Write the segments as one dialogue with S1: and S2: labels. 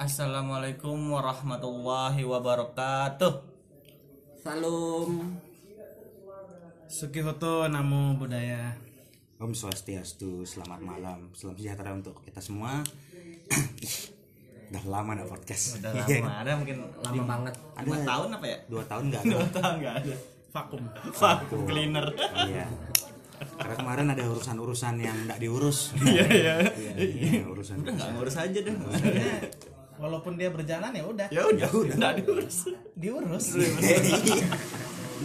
S1: Assalamualaikum warahmatullahi wabarakatuh.
S2: Salam.
S3: Sukihoto Namo Buddhaya.
S4: Om Swastiastu,
S1: Iya.
S4: selamat malam, salam sejahtera untuk kita semua. Ih, Udah lama dah podcast.
S1: Udah lama
S4: Iya kan?
S1: ada mungkin
S2: Lama banget.
S1: lima
S4: Ada.
S1: tahun apa ya?
S4: Dua tahun nggak?
S1: Dua tahun nggak ada.
S3: Vakum.
S1: Vakum cleaner.
S4: Iya. Karena kemarin ada urusan-urusan yang nggak diurus.
S1: Iya iya.
S4: Iya, urusan.
S1: Udah nggak ngurus aja deh.
S3: Walaupun dia berjalan ya udah
S1: ya udah udah nggak diurus.
S3: diurus.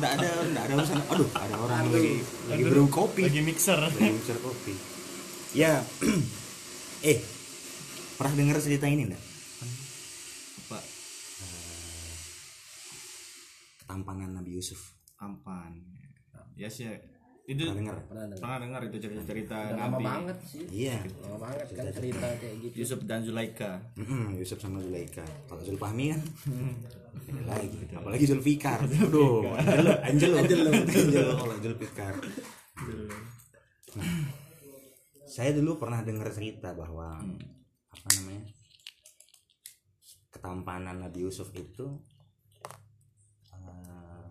S4: Nggak ada, nggak ada urusan. Aduh, ada orang lagi lagi brew kopi.
S3: Lagi mixer.
S4: Lagi mixer kopi. Ya. eh, pernah dengar cerita ini enggak?
S1: Pak
S4: Ketampangan Nabi Yusuf.
S1: Ampan. Ya sih. ya. Itu
S4: Pernah dengar?
S2: Pernah dengar?
S1: pernah dengar itu cerita cerita
S2: Udah lama
S1: Nabi
S2: banget sih.
S4: Iya.
S2: Lama banget kan cerita kayak gitu.
S1: Yusuf dan Zulaika.
S4: Mm-mm, Yusuf sama Zulaika. Kalau Zulfahmi kan beda lagi. Apalagi Zulfikar. Aduh, Angelo, Angelo, Angelo, Angelo kalau Zulfikar. Nah, saya dulu pernah dengar cerita bahwa apa namanya ketampanan Nabi Yusuf itu eh,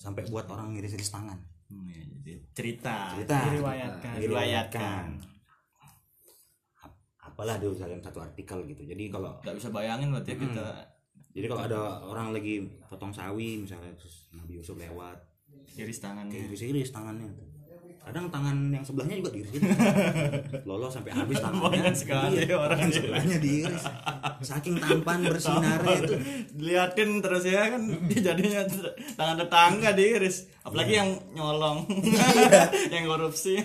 S4: sampai buat orang ngiris-ngiris tangan.
S1: Hmm, ya, jadi cerita.
S4: Cerita.
S3: Diriwayatkan.
S4: Diriwayatkan. Ap- Apalah dulu dalam satu artikel gitu. Jadi kalau
S1: Gak bisa bayangin berarti ya kita
S4: Jadi kalau ada orang lagi potong sawi misalnya terus Nabi Yusuf lewat,
S1: iris gitu. tangannya.
S4: diiris-iris tangannya. Kadang tangan yang sebelahnya juga diiris. gitu. Lolos sampai habis tangannya. Iya,
S1: Banyak sekali orang gitu.
S4: tangan sebelahnya diiris. Saking tampan bersinarnya itu.
S1: diliatin terus ya kan dia jadinya ter- tangan tetangga diiris apalagi yang nyolong Iya. yang korupsi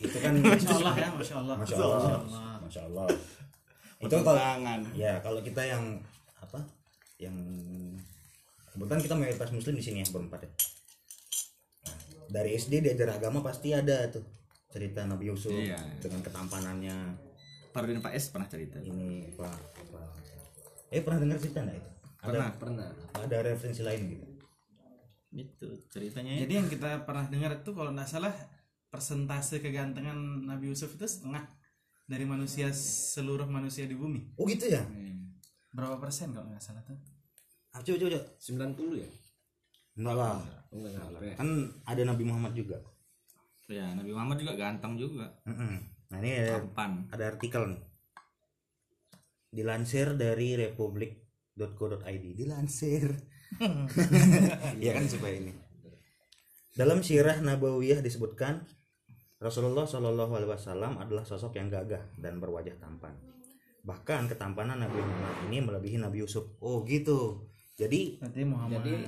S4: Itu kan
S3: Masya Allah ya, Masya Allah.
S4: Masya Allah. Masya Allah. Itu
S1: Potong
S4: kalau
S1: tangan
S4: ya kalau kita yang apa? Yang kebetulan kita mayoritas muslim di sini ya berempat ya. Nah, dari SD diajar agama pasti ada tuh cerita Nabi Yusuf
S1: Iya.
S4: dengan ketampanannya
S1: Pardin Pak S pernah cerita
S4: ini apa, apa. eh pernah dengar cerita nggak itu
S1: pernah
S2: Pernah.
S4: ada referensi lain
S1: itu
S4: gitu
S1: Gitu ceritanya ya.
S3: Jadi yang kita pernah dengar itu kalau nggak salah persentase kegantengan Nabi Yusuf itu setengah dari manusia seluruh manusia di bumi.
S4: oh gitu ya
S1: Hmm.
S3: Berapa persen kalau nggak salah tuh?
S4: ah, coba coba coba.
S2: 90 ya?
S4: enggak lah
S2: Oh, enggak nyampe.
S4: kan ada Nabi Muhammad juga
S1: ya Nabi Muhammad juga ganteng juga
S4: Mm-mm. nah ini ada,
S1: tampan
S4: ada artikel nih dilansir dari republik.co.id dilansir ya kan supaya ini dalam sirah nabawiyah disebutkan Rasulullah Shallallahu Alaihi Wasallam adalah sosok yang gagah dan berwajah tampan. Bahkan ketampanan Nabi Muhammad ini melebihi Nabi Yusuf. Oh gitu. Jadi
S3: Berarti Muhammad.
S2: Jadi-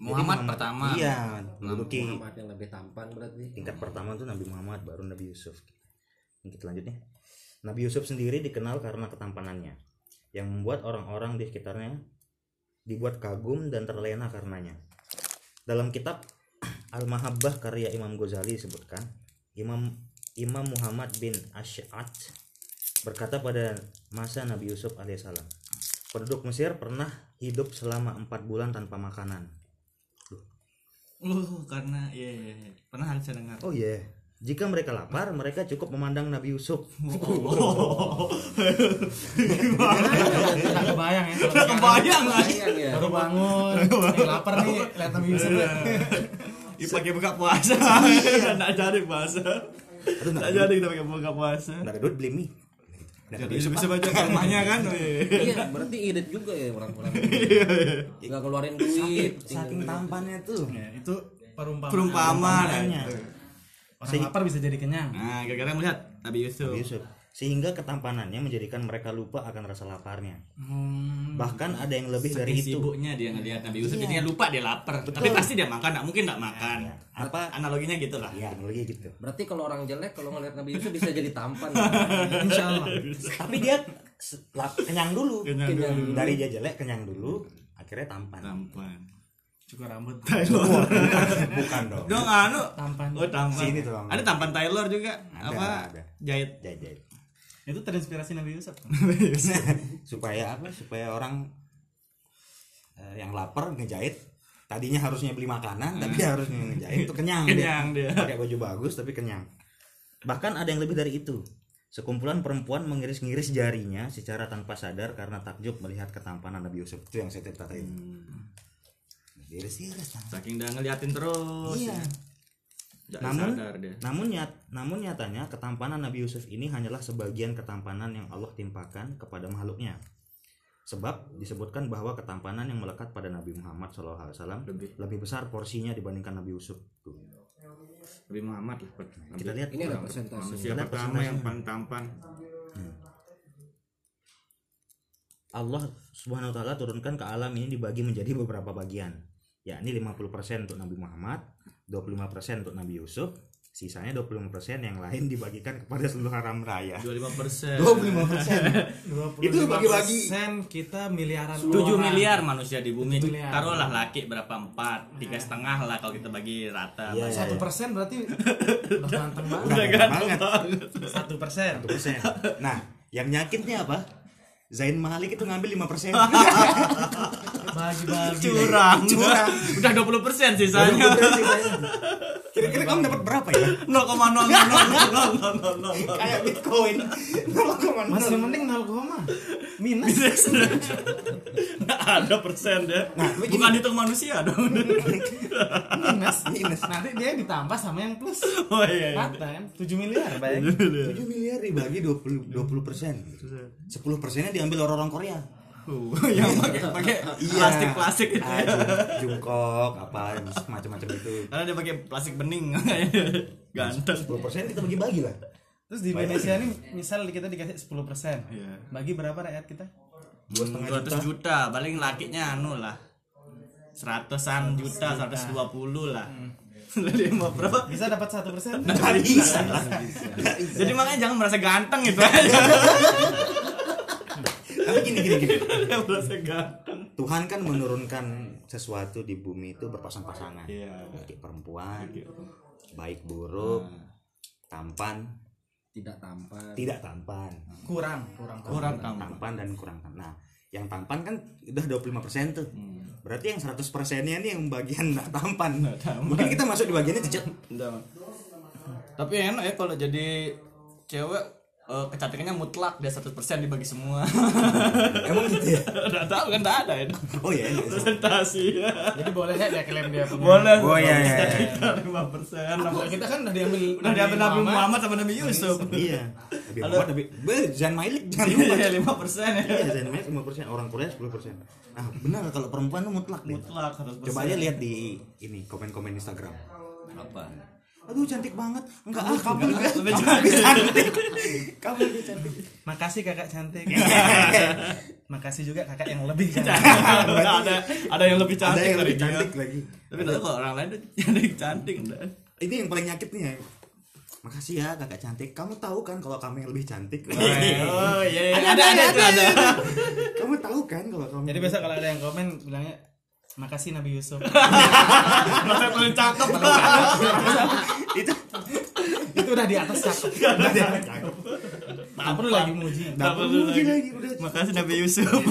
S1: Muhammad pertama
S4: Iya, menduduki
S2: Muhammad yang lebih tampan berarti.
S4: tingkat pertama itu Nabi Muhammad baru Nabi Yusuf Mungkin selanjutnya Nabi Yusuf sendiri dikenal karena ketampanannya yang membuat orang-orang di sekitarnya dibuat kagum dan terlena karenanya dalam kitab Al-Mahabbah karya Imam Ghazali disebutkan Imam Imam Muhammad bin Ash'at berkata pada masa Nabi Yusuf alaihissalam penduduk Mesir pernah hidup selama empat bulan tanpa makanan
S1: Lu, karena iya iya iya. pernah harus dengar
S4: Oh iya. Jika mereka lapar, mereka cukup memandang Nabi Yusuf.
S3: Nggak kebayang ya. kalau sekarang.
S1: kebayang lah
S2: Sayang ya.
S3: Baru bangun, eh, lapar nih, lihat Nabi Yusuf.
S1: Ini Iya. pakai buka puasa nggak jadi puasa nggak jadi kita pakai buka puasa
S4: Nggak ada duit beli mie.
S1: jadi bisa baca rumahnya kan weh.
S2: Iya, berarti irit juga ya orang-orang. Enggak keluarin duit.
S4: Saking tampannya tuh. Iya,
S3: Ya, itu perumpamaan.
S1: perumpamaan
S3: Orang lapar bisa jadi kenyang.
S1: Iya. nah gara-gara melihat Nabi Yusuf
S4: Nabi Yusuf. iya, Sehingga ketampanannya menjadikan mereka lupa akan rasa laparnya.
S3: Hmm,
S4: Bahkan ada yang lebih dari
S1: Saking
S4: itu.
S1: sibuknya dia ngelihat Nabi Yusuf jadi dia lupa dia lapar tapi pasti dia makan nggak mungkin nggak makan
S4: Apa?
S1: analoginya gitu lah
S4: Ya, analogi gitu.
S2: Berarti kalau orang jelek kalau ngelihat Nabi Yusuf bisa jadi tampan.
S3: insya Allah.
S4: Tapi dia se- lap- kenyang dulu.
S1: Kenyang
S2: dulu.
S4: Dari dia jelek kenyang dulu, akhirnya tampan.
S1: tampan
S3: Cukur rambut.
S4: Bukan, Bukan dong.
S1: dong anu
S3: Tampan.
S1: oh tampan
S4: Sini tuh, Bang.
S1: ada tampan Taylor juga
S4: Ada,
S1: apa
S4: ada.
S1: jahit
S4: Jajai.
S3: Itu terinspirasi Nabi Yusuf. kan?
S4: supaya apa supaya orang eh, yang lapar ngejahit tadinya harusnya beli makanan tapi harusnya ngejahit itu Hmm. kenyang,
S1: kenyang dia
S4: dia pakai baju bagus tapi kenyang bahkan ada yang lebih dari itu Sekumpulan perempuan mengiris-ngiris jarinya secara tanpa sadar karena takjub melihat ketampanan Nabi Yusuf. Itu yang saya ceritain. Iris-iris.
S1: saking udah ngeliatin terus
S4: Iya.
S1: ya. Nggak
S4: Namun-
S1: sadar dia
S4: Namun nyat, namun nyatanya ketampanan Nabi Yusuf ini hanyalah sebagian ketampanan yang Allah timpakan kepada makhluknya. Sebab disebutkan bahwa ketampanan yang melekat pada Nabi Muhammad SAW
S1: lebih
S4: lebih besar porsinya dibandingkan Nabi Yusuf. Tuh.
S1: lebih Muhammad lah per-
S4: Kita
S1: Nabi-
S4: lihat
S2: Ini ada
S4: kurang-
S2: persentase.
S1: manusia
S4: Kita lihat
S1: pertama
S4: persentasenya.
S1: yang paling tampan
S4: Allah Subhanahu wa taala turunkan ke alam ini dibagi menjadi beberapa bagian, yakni 50% untuk Nabi Muhammad, 25% untuk Nabi Yusuf, sisanya 25% yang lain dibagikan kepada seluruh haram raya.
S1: 25 persen
S4: 25%.
S3: 25%
S4: Itu bagi-bagi.
S3: kita miliaran
S1: 7
S3: orang.
S1: miliar manusia di bumi
S3: Miliar.
S1: taruhlah laki berapa empat tiga setengah lah kalau kita bagi rata
S4: Iya.
S3: Nah, satu persen berarti udah ganteng banget
S4: Udah ganteng
S1: banget
S3: satu persen
S4: 1%. Nah, yang nyakitnya apa? Zain Malik itu ngambil 5%.
S3: bagi bagi
S1: curang
S4: Curang.
S1: udah 20 persen sisanya
S4: Kira-kira kamu dapat berapa ya?
S1: 0,000000
S4: Kayak Bitcoin.
S3: masih mending nol koma minus
S1: nggak ada persen deh
S4: tapi gini-
S1: bukan hitung manusia dong
S3: minus minus nanti dia ditambah sama yang plus
S1: oh iya, iya.
S3: rata kan tujuh miliar bayangin
S4: 7 miliar dibagi 20 20%. 10%-nya diambil orang-orang Korea.
S1: Uh, yang pakai pakai plastik plastik gitu
S4: Ah,
S1: ya.
S4: jung- jungkok apa macam-macam itu.
S1: karena dia pakai plastik bening ganteng
S4: 10% kita bagi-bagi lah.
S3: terus di Indonesia nih misal kita dikasih sepuluh persen
S1: Iya.
S3: bagi berapa rakyat kita
S4: 2,5 juta.
S1: 200 juta paling lakinya anu lah seratusan juta Hmm. 120 lah Jadi mau berapa
S3: bisa dapat satu persen
S4: Nggak bisa lah.
S1: jadi makanya jangan merasa ganteng gitu aja
S4: Tapi gini gini gini.
S1: Jangan merasa ganteng
S4: Tuhan kan menurunkan sesuatu di bumi itu berpasang-pasangan.
S1: Iya.
S4: Laki perempuan, baik buruk,
S1: Hmm.
S4: tampan,
S2: tidak tampan
S4: tidak tampan.
S3: kurang kurang
S1: kurang
S4: Tampan,
S1: tampan
S4: tampan dan kurang tampan. Nah, yang tampan kan udah 25% tuh. Berarti yang 100%-nya nih yang bagian nggak tampan.
S1: Hmm. Nggak tampan.
S4: Mungkin kita masuk di bagiannya cecek.
S1: Udah. tapi enak ya kalau jadi cewek eh, kecantikannya mutlak dia 100% dibagi semua
S4: Emang gitu ya?
S1: Nggak tahu kan nggak ada Hmm. itu
S4: Oh iya. iya.
S1: presentasi
S3: jadi boleh ya dia klaim dia punya
S1: boleh
S4: Oh, iya, iya, iya.
S1: lima persen
S3: Kalau kita kan udah diambil
S1: udah diambil Nabi Muhammad sama Nabi Yusuf
S4: Iya. Tapi
S1: Halo.
S4: Muhammad tapi Beh, Zain Malik jangan lupa.
S1: iya lima persen ya
S4: Iya, Zain Malik 5%, orang Korea 10%. Nah, benar kalau perempuan tuh mutlak deh.
S1: mutlak 100%
S4: Coba aja lihat di ini komen-komen Instagram.
S1: apa
S4: Aduh cantik banget. Enggak ah, kamu lebih
S1: lebih
S4: kamu lebih cantik. Kamu lebih cantik.
S3: Makasih kakak cantik. Makasih juga kakak yang lebih cantik.
S1: Udah ada ada yang lebih
S4: Ada
S1: cantik dari
S4: yang lebih
S1: dia
S4: cantik lagi.
S1: tapi nggak tahu kalau orang lain tuh cantik cantik enggak
S4: Ini yang paling nyakit nih ya. Makasih ya kakak cantik. Kamu tahu kan kalau kamu yang lebih cantik.
S1: oh iya iya.
S4: Ada,
S1: ada ada
S4: ada,
S1: itu ada
S4: kamu tahu kan kalau kamu.
S3: Jadi besok kalau ada yang komen bilangnya Makasih Nabi Yusuf.
S1: masa paling cakep
S4: itu
S3: Itu udah di atas cakep.
S4: udah dia cakep.
S3: Nggak perlu lagi muji.
S4: Nggak
S1: Apa
S4: perlu
S1: tuh
S4: lagi,
S1: lagi?
S4: udah.
S1: Makasih Nabi Yusuf.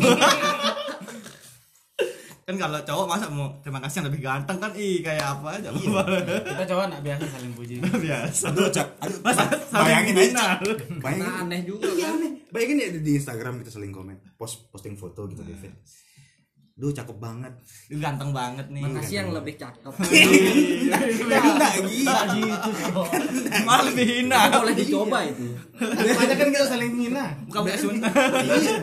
S1: kan kalau cowok masa mau terima kasih yang lebih ganteng kan ih kayak apa aja
S3: Kita cowok nak biasa saling puji.
S1: biasa
S4: Aduh cak. Aduh,
S1: masa
S4: bayangin aja. Cak.
S1: aja
S4: Bayangin.
S2: Nah, aneh juga
S4: Iya
S2: kan?
S4: aneh. Bayangin ya di Instagram kita saling komen, post posting foto gitu di feed. Duh cakep banget.
S1: ganteng banget nih
S2: makasih yang lebih cakep
S4: Enggak enggak
S3: Nggak gitu cowok.
S1: malah lebih hina
S2: boleh dicoba itu
S3: Banyak kan kita saling hina.
S1: bukan bukan sunnah
S4: Iya.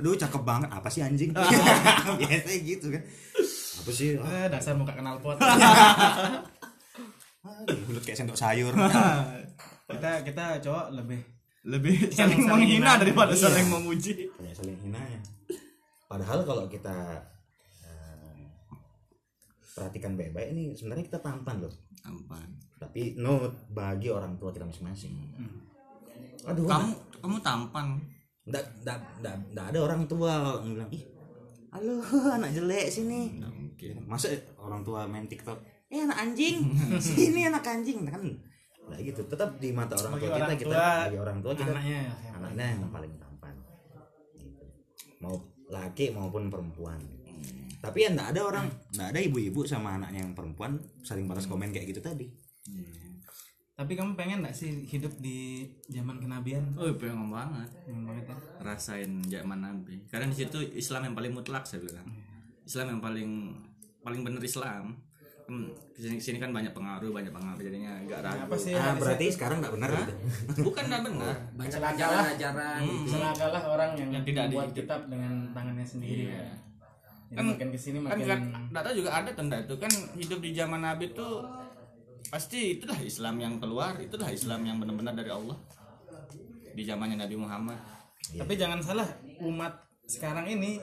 S4: Aduh cakep banget. Apa sih anjing? Biasanya gitu kan. Apa sih? Ah,
S3: Eh, dasar muka kenal pot.
S4: Aduh, Ah, mulut kayak sendok sayur.
S3: Kita kita cowok lebih
S1: lebih saling
S3: saling
S1: menghina
S3: hina.
S1: daripada
S4: Iya.
S1: saling memuji
S4: Kayak saling hinanya. Padahal kalau kita eh, perhatikan baik-baik ini sebenarnya kita tampan loh.
S1: tampan
S4: Tapi note bagi orang tua kita masing-masing. Aduh,
S1: kamu kamu tampan
S4: ndak ndak ndak ndak ada orang tua yang bilang ih, halo anak jelek sini.
S1: mungkin
S4: Masa orang tua main TikTok, eh anak anjing, sini anak anjing kan? Nah gitu, tetap di mata orang
S3: Bagi
S4: tua kita
S3: orang
S4: kita
S3: tua,
S4: bagi orang tua kita
S3: anaknya. ya.
S4: anaknya yang paling tampan Gitu. mau laki maupun perempuan tapi ya nggak ada orang Hmm. nggak ada ibu-ibu sama anaknya yang perempuan saling balas komen kayak gitu tadi
S3: Tapi kamu pengen nggak sih hidup di zaman kenabian?
S1: Oh, pengen banget.
S3: Pengen banget ya.
S1: Rasain zaman Nabi. Karena di situ Islam yang paling mutlak saya bilang. Islam yang paling paling bener Islam. Hmm, kesini, kesini kan banyak pengaruh, banyak pengaruh jadinya nggak ragu.
S3: Apa sih?
S4: Ah,
S3: yang
S4: berarti sekarang nggak benar gitu.
S1: Bukan nggak benar.
S2: Baca ajaran-ajaran
S1: Hmm.
S3: Celakalah orang yang,
S1: Yang tidak
S3: membuat
S1: dihidup.
S3: kitab dengan tangannya sendiri.
S1: Iya.
S3: Jadi
S1: Kan-
S3: makin kesini
S1: kan
S3: makin
S1: nggak- nggak tahu juga ada tanda itu kan hidup di zaman Nabi tuh pasti itulah Islam yang keluar itulah Islam yang benar-benar dari Allah di zamannya Nabi Muhammad
S3: Iya. Tapi jangan salah, umat sekarang ini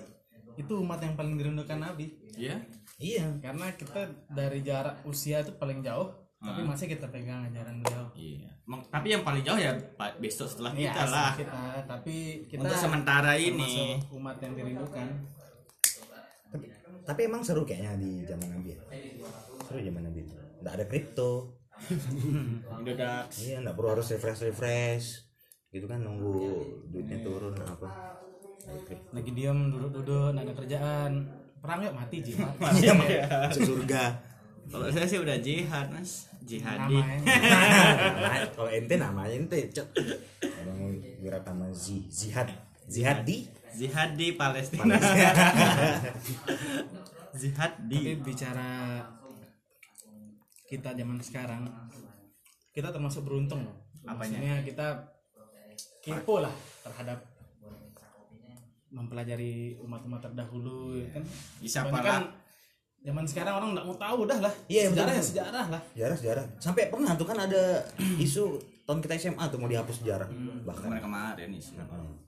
S3: itu umat yang paling dirindukan Nabi.
S1: ya
S4: Iya.
S3: Karena kita dari jarak usia itu paling jauh, tapi
S1: Hmm.
S3: masih kita pegang ajaran beliau.
S1: iya Emang- tapi yang paling jauh ya pa- besok setelah
S3: Iya,
S1: kita
S3: asal
S1: lah
S3: kita, tapi kita
S1: untuk sementara ini
S3: termasuk umat yang dirindukan.
S4: Tapi, tapi emang seru kayaknya di zaman Nabi. ya. Seru zaman Nabi. Nggak ada kripto.
S1: udah
S4: Iya, nggak perlu harus refresh refresh. Gitu kan nunggu duitnya turun apa. Ada kripto.
S3: Lagi diam duduk-duduk, nggak ada kerjaan. Perang yuk mati jiwa.
S4: Iya, masuk surga.
S1: kalau saya sih udah jihad mas jihadi
S3: Namanya.
S4: Nah, kalau ente namanya ente cok. Orang Wiratama Z, Zihad. Zihadi.
S1: jihadi Palestina
S3: Tapi
S4: Iya.
S1: jihadi
S3: bicara kita zaman sekarang, kita termasuk beruntung. loh.
S1: Apanya?
S3: Maksudnya kita kepo lah terhadap mempelajari umat-umat terdahulu
S4: Iya.
S3: ya kan.
S1: bisa
S3: Kebanyakan
S1: pala
S3: Zaman sekarang orang nggak mau tahu dah lah.
S4: Iya, betul,
S3: sejarah ya
S4: betul.
S3: sejarah lah.
S4: Sejarah, sejarah. Sampai pernah tuh kan ada isu tahun kita SMA tuh mau dihapus sejarah. Bahkan
S1: kemarin kemarin nih
S4: Hmm.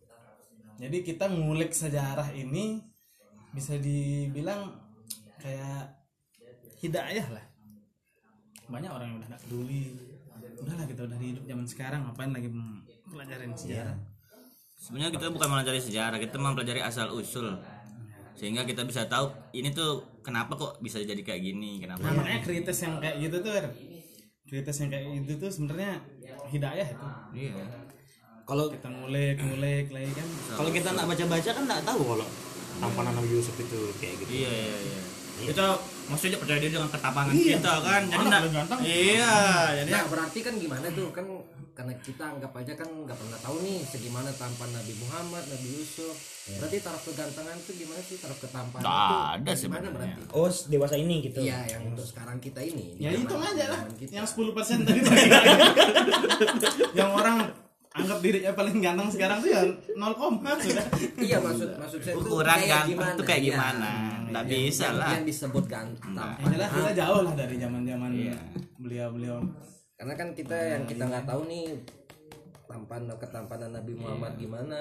S3: Jadi kita ngulik sejarah ini bisa dibilang kayak hidayah lah. Banyak orang yang udah nggak peduli. Udahlah kita udah hidup zaman sekarang ngapain lagi pelajarin sejarah.
S1: Sebenarnya kita bukan mempelajari sejarah, kita mempelajari asal usul. Sehingga kita bisa tahu ini tuh kenapa kok bisa jadi kayak gini,
S3: Nah,
S1: kenapa.
S3: makanya kritis yang kayak gitu tuh, Er. kritis yang kayak gitu tuh sebenarnya hidayah itu.
S1: Iya.
S4: Kalau
S3: Kita ngulik, ngulik lagi kan.
S4: kalau kita nggak baca-baca kan nggak tahu kalau tampanan Nabi Yusuf itu kayak gitu.
S1: Iya, iya, iya. Kita maksudnya percaya diri dengan ketapangan kita kan. Jadi
S3: Orang
S1: nak-
S3: paling ganteng.
S1: Iya, jadi
S2: Nah berarti kan gimana tuh kan karena kita anggap aja kan nggak pernah tahu nih segimana tampan Nabi Muhammad, Nabi Yusuf.
S1: Iya.
S2: Berarti taraf kegantengan tuh gimana sih taraf ketampanan
S1: Nggak
S2: tuh
S1: ada
S2: gimana
S1: sebenarnya.
S2: berarti?
S4: Oh, dewasa ini gitu.
S2: Iya yang untuk sekarang kita ini.
S3: Ya
S2: Zaman-
S3: hitung aja lah
S2: zaman kita.
S3: yang 10% tadi tuh. yang orang anggap dirinya paling ganteng sekarang tuh ya 0 koma sudah.
S2: Iya maksud maksud saya tuh
S1: ukuran
S2: kayak
S1: ganteng tuh kayak
S2: Iya.
S1: gimana? Nggak bisa
S2: Yang-
S1: lah.
S2: Yang disebut ganteng.
S3: Yang Ya jelas kita jauh lah dari zaman-zaman beliau-beliau.
S2: Karena kan kita
S1: Nah,
S2: yang kita nggak
S1: iya.
S2: tahu nih tampan ketampanan Nabi Muhammad
S1: Iya.
S2: gimana.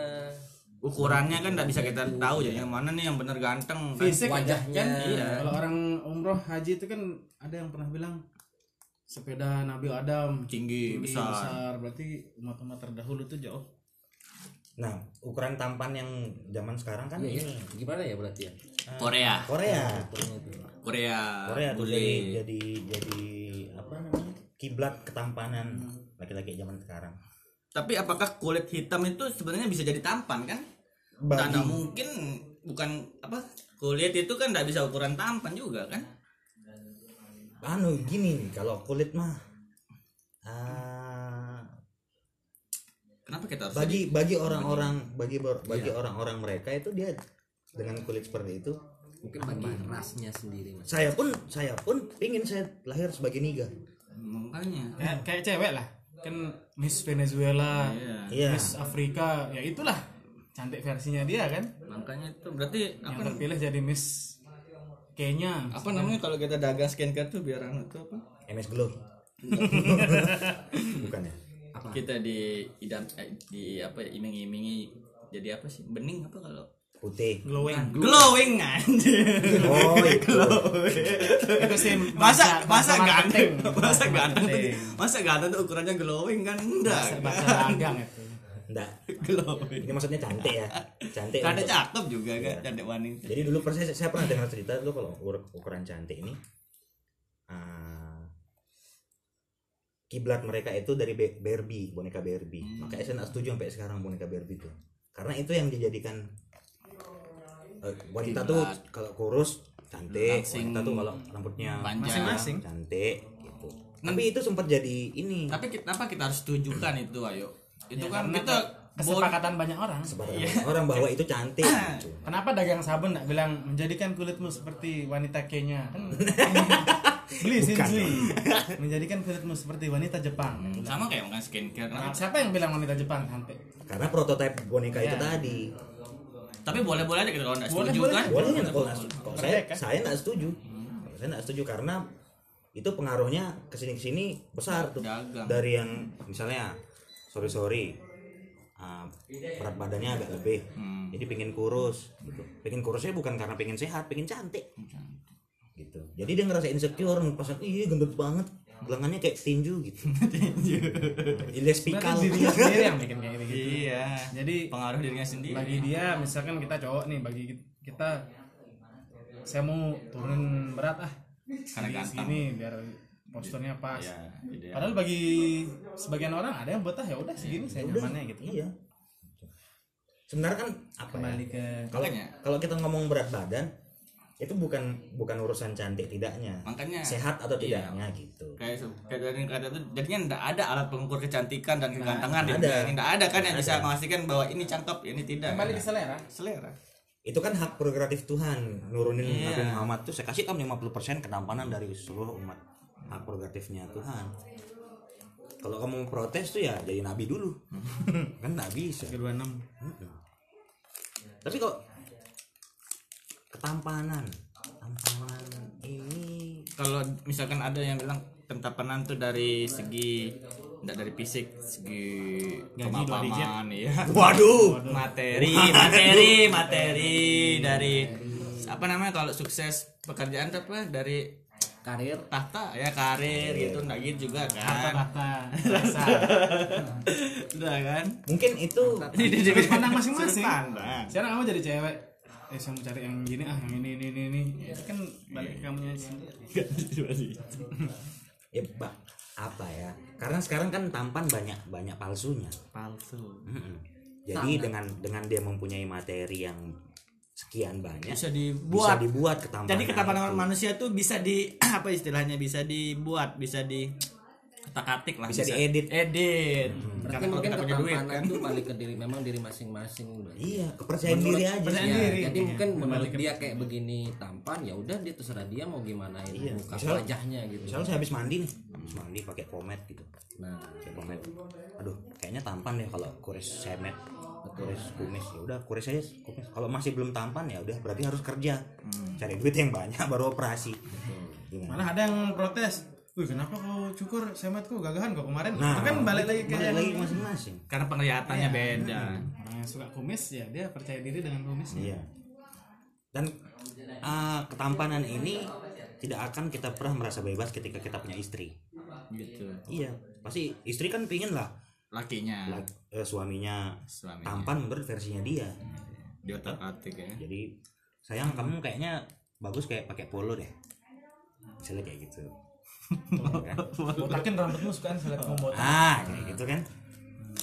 S1: Ukurannya kan nggak bisa kita tahu jadi yang mana nih yang bener ganteng. kan.
S3: Fisik aja
S2: Wajahnya.
S3: kan. Kalau orang umroh haji itu kan ada yang pernah bilang sepeda Nabi Adam
S1: Tinggi,
S3: tinggi,
S1: besar.
S3: berarti umat-umat terdahulu tuh jauh
S4: Nah, ukuran tampan yang zaman sekarang kan
S2: Iya, iya.
S4: ini
S2: Gimana ya berarti ya?
S1: Korea,
S4: Korea.
S2: Ukurnya itu.
S1: Korea,
S2: Ah,
S4: Korea iya. tuh jadi
S1: bule.
S4: jadi jadi apa namanya? Kiblat ketampanan
S2: Hmm.
S4: laki-laki zaman sekarang.
S1: Tapi apakah kulit hitam itu sebenarnya bisa jadi tampan kan?
S4: Bagi-
S1: Tanda mungkin bukan apa kulit itu kan nggak bisa ukuran tampan juga kan?
S4: anu gini kalau kulit mah ah,
S1: Kenapa kita harus jadi-
S4: bagi bagi orang-orang bagi bagi
S2: Iya.
S4: orang-orang mereka itu dia dengan kulit seperti itu
S2: Mungkin bagi rasnya sendiri mas.
S4: saya pun saya pun pingin saya lahir sebagai niga
S1: makanya?
S3: kayak, kayak cewek lah kan Miss Venezuela
S1: Iya.
S4: iya
S3: Miss Afrika ya itulah cantik versinya dia kan
S1: Makanya itu berarti
S3: yang
S1: apa
S3: terpilih jadi Miss Kenya
S1: apa namanya kalau kita dagang skincare tuh biar anu tuh apa?
S4: MS Glow bukan ya
S2: Apa?
S1: Kita di idam eh, di apa ya, iming-imingi jadi apa sih? Bening apa kalau Nah,
S4: putih
S3: glowing
S1: glowing anjir.
S4: oh itu
S3: itu sih
S1: Masa masa
S3: bahasa
S1: ganteng,
S3: marketing.
S1: masa
S3: Bahasa
S1: ganteng, tuh
S3: marketing.
S1: di- masa ganteng tuh ukurannya glowing kan enggak.
S3: bahasa bahasa dagang itu
S4: enggak
S1: glowing.
S4: ini maksudnya cantik ya cantik
S1: Karena
S4: untuk-
S1: cakep juga kan, cantik wanita.
S4: Jadi dulu persis saya, saya pernah dengar cerita dulu kalau ukur- ukuran cantik ini ah, kiblat mereka itu dari Be- Barbie, boneka Barbie.
S1: Hmm.
S4: Makanya saya nggak setuju sampai sekarang boneka Barbie itu. Karena itu yang dijadikan eh, wanita tuh kalau kurus cantik,
S1: Langsing.
S4: wanita tuh kalau rambutnya
S1: Panjang. Masing-masing.
S4: cantik gitu. tapi itu sempat jadi ini
S1: Hmm. Tapi kenapa kita harus tunjukkan itu ayo? Itu
S3: Ya,
S1: kan
S3: karena
S1: kita bon-
S3: kesepakatan banyak orang
S4: sebarang orang bahwa itu cantik gitu.
S3: Kenapa dagang sabun nggak bilang menjadikan kulitmu seperti wanita Kenya? Kan beli sih
S4: Bukan.
S3: Menjadikan kulitmu seperti wanita Jepang.
S1: sama kayak orang skincare.
S3: Nah,
S1: Kenapa?
S3: siapa yang bilang wanita Jepang sampai?
S4: karena prototipe boneka itu
S3: Ya.
S4: tadi
S1: Tapi boleh-boleh aja kita kalau nggak
S3: Boleh,
S1: setuju
S3: boleh.
S1: kan?
S4: boleh nggak kalau nggak- kalau saya
S3: Merdeka.
S4: saya nggak setuju saya nggak setuju karena itu pengaruhnya kesini kesini besar tuh
S1: Dagang.
S4: dari yang misalnya sorry sorry ah, berat badannya agak lebih
S1: Hmm.
S4: jadi pengen kurus gitu. pengen kurusnya bukan karena pengen sehat pengen cantik gitu jadi dia ngerasa insecure pas iya gendut banget gelangannya kayak tinju gitu Ilyas
S3: Berarti
S4: Pikal
S3: kan dirinya sendiri yang bikin kayak gitu.
S1: Iya.
S3: Jadi
S1: Pengaruh dirinya sendiri.
S3: bagi dia misalkan kita cowok nih bagi kita saya mau turun berat ah
S1: Karena
S3: Jadi
S1: ganteng.
S3: segini biar posturnya pas
S1: Iya, ideal.
S3: padahal bagi sebagian orang ada yang buat ah ya udah segini saya nyamannya gitu
S4: iya sebenarnya kan apa ya?
S3: kembali ke
S4: kalau
S1: Makanya.
S4: kalau kita ngomong berat badan itu bukan bukan urusan cantik tidaknya
S1: Makanya.
S4: sehat atau
S1: Iya.
S4: tidaknya gitu
S1: kayak kayak dari kata itu jadinya ndak ada alat pengukur kecantikan dan kegantengan di
S4: nggak ada.
S1: dunia ini ndak ada kan yang
S4: Nggak
S1: bisa
S4: ada.
S1: memastikan bahwa ini cakep ini tidak
S3: kembali ke selera
S1: selera
S4: itu kan hak prerogatif Tuhan nurunin
S1: Iya.
S4: Nabi Muhammad tuh saya kasih kamu 50% ketampanan dari seluruh umat hak prerogatifnya Tuhan kalau kamu mau protes tuh ya jadi nabi dulu kan nggak bisa
S3: kedua enam
S4: tapi kok ketampanan ketampanan ini
S1: kalau misalkan ada yang bilang kentapanan tuh dari segi ndak dari fisik segi kemapanan ya
S4: waduh
S1: materi materi materi dari apa namanya kalau sukses pekerjaan tuh apa dari
S2: karir
S1: tahta ya karir gitu ndak gitu juga
S3: harta
S1: kan
S3: tahta rasa
S1: udah kan
S4: mungkin itu
S3: sudut pandang
S1: Sudut
S3: masing-masing
S1: pandang.
S3: sekarang kamu jadi cewek eh saya mau cari yang gini ah yang ini ini ini, ini. Ya, itu kan balik ke kamunya sendiri
S4: ya Pak, apa ya karena sekarang kan tampan banyak banyak palsunya
S1: palsu
S4: Mm-mm. jadi dengan dengan dia mempunyai materi yang sekian banyak
S1: bisa
S4: bisa
S1: dibuat
S4: dibuat ketampanan
S1: Jadi ketampanan
S4: itu.
S1: manusia tuh bisa di apa istilahnya bisa dibuat, bisa di katik lah,
S4: Bisa diedit. Hmm.
S1: Edit.
S2: berarti
S1: kalau
S2: mungkin
S1: kita punya duit
S2: ketampanan
S1: kan.
S2: itu balik ke diri memang diri masing-masing berarti
S4: iya kepercayaan
S2: Menurut-
S4: diri aja Iya.
S3: percayaan
S2: Ya,
S3: diri.
S2: jadi mungkin
S3: Kembali
S2: menurut
S3: ke-
S2: dia kayak begini tampan ya udah dia terserah dia mau gimana
S4: Iya,
S2: muka
S4: misal-
S2: wajahnya gitu
S4: misalnya saya habis mandi nih habis mandi pakai pomade gitu
S2: nah
S4: pakai pomade aduh kayaknya tampan deh kalau kuris semet kuris kumis ya udah kuris aja kumis kalau masih belum tampan ya udah berarti harus kerja cari duit yang banyak baru operasi Iya kan? Gimana?
S3: Mana ada yang protes. Wih, kenapa kau cukur semetku gagahan kok kemarin?
S4: nah
S3: itu kan balik lagi ke
S4: balik
S3: yang
S4: lagi masing-masing
S1: Karena
S3: Iya.
S1: penglihatannya beda.
S4: Hmm.
S3: orang yang suka kumis ya dia percaya diri dengan kumisnya.
S4: Iya. Dan ah, ketampanan ini tidak akan kita pernah merasa bebas ketika kita punya istri.
S1: Gitu.
S4: Iya, pasti istri kan pingin lah
S1: Lakinya,
S4: la- eh, suaminya
S1: suaminya.
S4: tampan menurut versinya dia.
S1: Di otak atik ya.
S4: Jadi sayang kamu kayaknya bagus kayak pakai polo deh. Misalnya kayak gitu. Iya kan?
S3: Botakin rambutmu suka kan seleb kamu botak.
S4: Ah, kayak gitu kan.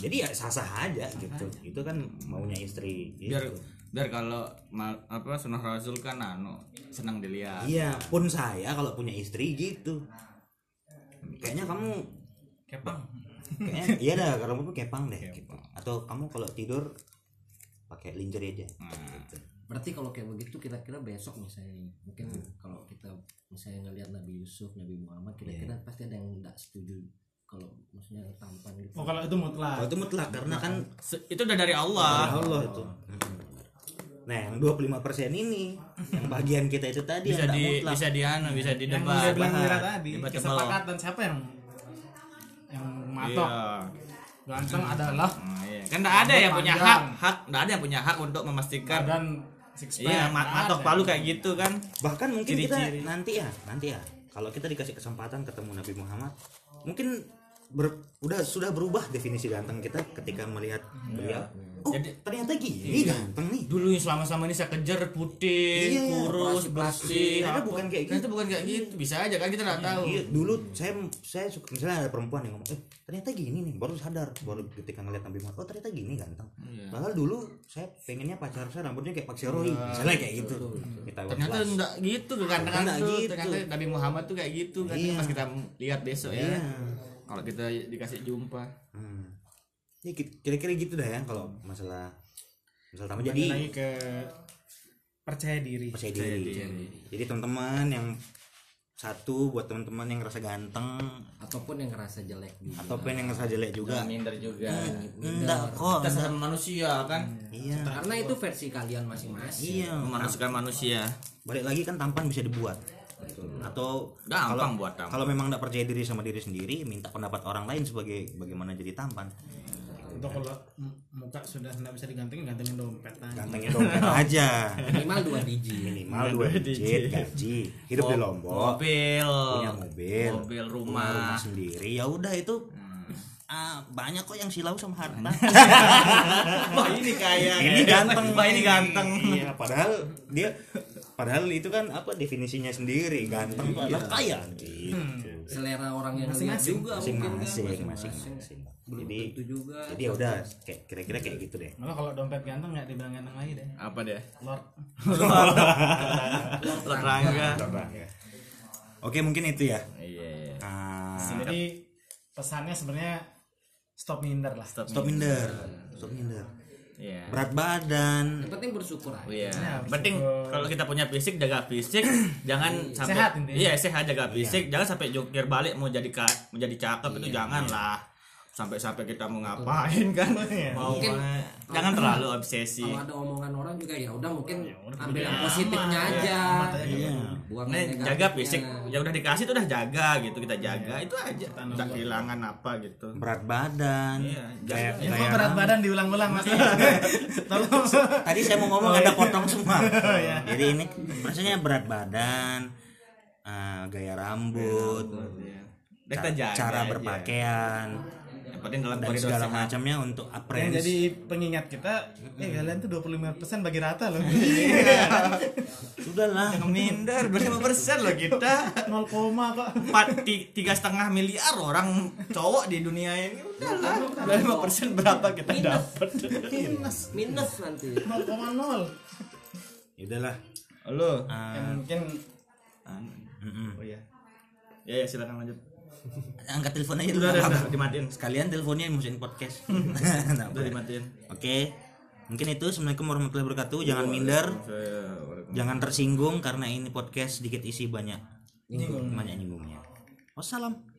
S4: Jadi ya sah-sah aja gitu. Itu kan maunya istri. gitu.
S1: Biar biar kalau ma- apa sunnah rasul kan anu senang dilihat.
S4: Iya, pun saya kalau punya istri gitu. Kayaknya kamu
S3: Kepang.
S4: kayaknya iya dah kalau menurut kepang deh gitu. atau kamu kalau tidur pakai lingerie aja
S1: Hmm.
S4: gitu.
S2: berarti kalau kayak begitu kira-kira besok misalnya mungkin kalau kita misalnya ngelihat Nabi Yusuf Nabi Muhammad kira-kira pasti ada yang nggak setuju kalau maksudnya tampan gitu
S3: Oh kalau itu
S4: kalau
S3: mutlak.
S4: itu mutlak karena kan
S1: Se- itu udah dari Allah.
S4: Allah itu Hmm. nah yang 25% ini yang bagian kita itu tadi
S1: Bisa
S4: yang nggak
S1: di
S4: mutlak
S1: bisa di anu, bisa
S3: Yang dia
S1: didebat.
S3: bilang Mira
S1: debat.
S3: tadi,
S1: Debat tebal.
S3: kesepakatan siapa yang yang matok.
S1: Iya.
S3: Ganteng adalah
S1: Oh, iya. Kan enggak ada yang punya hak,
S3: Panjang.
S1: hak enggak ada yang punya hak untuk memastikan
S3: dan six pack.
S1: Kan. iya ma- matok palu kayak gitu kan.
S4: bahkan mungkin
S1: Ciri-ciri.
S4: kita nanti ya nanti ya kalau kita dikasih kesempatan ketemu Nabi Muhammad mungkin ber- udah sudah berubah definisi ganteng kita ketika melihat beliau oh
S1: Hmm. Jadi- Iya.
S4: ternyata gini ganteng nih
S1: Dulu yang selama-selama ini saya kejar putih,
S4: Iya, iya.
S1: kurus, bersih.
S4: Ternyata
S1: apa.
S4: bukan kayak gitu.
S1: Ternyata bukan kayak gitu. Bisa aja kan kita enggak tahu.
S4: Iya, dulu saya saya suka misalnya ada perempuan yang ngomong, "Eh, ternyata gini nih." Baru sadar, baru ketika ngeliat Nabi Muhammad, "Oh, ternyata gini ganteng."
S1: Iya.
S4: Padahal dulu saya pengennya pacar saya rambutnya kayak Pak Roy, misalnya kayak gitu. Kita
S1: ternyata
S4: welas.
S1: enggak gitu kan
S4: Ternyata
S1: ternyata tuh
S4: gitu.
S1: ternyata Nabi Muhammad tuh kayak gitu kan
S4: Iya.
S1: pas kita lihat besok ya
S4: Iya.
S1: kalau kita dikasih jumpa
S4: Hmm. Ya ki- kira-kira gitu dah ya kalau masalah masalah tamu
S3: jadi
S4: jadi
S3: lagi ke percaya diri
S4: percaya
S1: Percaya
S4: diri.
S1: diri.
S4: Jadi teman-teman yang satu buat teman-teman yang ngerasa ganteng
S2: ataupun yang ngerasa jelek gitu. juga
S4: ataupun yang ngerasa jelek juga.
S5: minder juga
S1: Iya,
S4: Enggak kok.
S5: kita sesama manusia kan
S4: Iya.
S2: karena itu versi kalian masing-masing
S4: Iya.
S1: memanusiakan manusia
S4: Balik lagi kan tampan bisa dibuat. Atau
S1: gampang
S4: kalau
S1: buat kamu
S4: kalau memang nggak percaya diri sama diri sendiri, minta pendapat orang lain sebagai bagaimana jadi tampan.
S3: atau kalau m- muka sudah nggak bisa digantengin gantengin dompet aja.
S4: Gantengin dompet Gitu aja.
S2: minimal dua biji
S4: minimal dua digit gaji hidup di lombok
S1: mobil
S4: punya mobil
S1: mobil
S4: punya rumah
S1: rumah
S4: sendiri ya udah itu ah, banyak kok yang silau sama harta
S1: wah ini kayak
S4: ini ganteng
S1: wah ini ganteng
S4: iya padahal dia padahal itu kan apa definisinya sendiri ganteng padahal kaya gitu
S2: selera orang yang lihat juga mungkin kan
S4: masing-masing masing-masing
S2: belum
S4: jadi
S2: tentu juga
S4: jadi ya udah kayak kira-kira kayak gitu deh
S3: malah kalau dompet ganteng nggak dibilang ganteng lagi deh
S1: apa deh
S3: lord
S1: terangga
S4: Udah, ya. oke mungkin itu ya
S1: iya
S4: Ah,
S3: jadi pesannya sebenarnya stop minder lah
S1: stop
S4: stop minder stop minder
S1: iya
S4: berat badan
S2: yang penting bersyukur aja
S1: Iya,
S3: Nah,
S1: penting
S3: bersyukur.
S1: kalau kita punya fisik jaga fisik, jangan sampai
S3: Sehat intinya.
S1: Iya, sehat jaga fisik, jangan sampai jungkir balik mau jadi ka- mau jadi cakep itu jangan lah. Sampai-sampai kita mau ngapain kan. Mau
S2: Mungkin
S1: eh, jangan terlalu obsesi. Nah,
S2: kalau ada omongan orang juga ya udah mungkin ambil yang positifnya aja
S4: Iya.
S2: buang
S1: Nah,
S2: yang
S1: jaga
S2: negatifnya.
S1: fisik ya udah dikasih itu udah jaga gitu kita jaga itu aja nggak kehilangan apa gitu
S4: berat badan
S1: Iya,
S4: kayak
S1: jangan-
S3: Kok
S4: kayak
S3: berat
S4: orang-
S3: badan diulang-ulang mas tolong
S4: tadi saya mau ngomong ada potong semua jadi ini maksudnya berat badan eh, gaya rambut
S1: Iya. Udah
S4: ca-
S1: kita jaga
S4: cara
S1: aja.
S4: berpakaian
S1: yang penting dalam
S4: dan
S1: koridor
S4: segala
S1: sehat.
S4: macamnya untuk
S3: yang
S4: appearance
S3: jadi pengingat kita eh kalian tuh 25% bagi rata loh
S4: sudahlah
S1: minder 25% loh kita
S3: 0 koma kok
S1: empat ti- tiga setengah miliar orang cowok di dunia ini udahlah dari lima persen berapa kita dapat
S2: minus nanti
S3: 0,0
S4: Ya udahlah
S1: lo
S3: ya mungkin
S4: Mm-mm.
S1: Ah, oh iya ya ya silakan lanjut
S4: angkat telepon aja dulu
S1: udah udah, udah dimatiin
S4: sekalian teleponnya musim podcast Nah,
S1: udah
S4: oke
S1: dimatiin
S4: mungkin itu assalamualaikum warahmatullahi wabarakatuh jangan minder jangan tersinggung karena ini podcast sedikit isi banyak nyinggung banyak nyinggungnya wassalam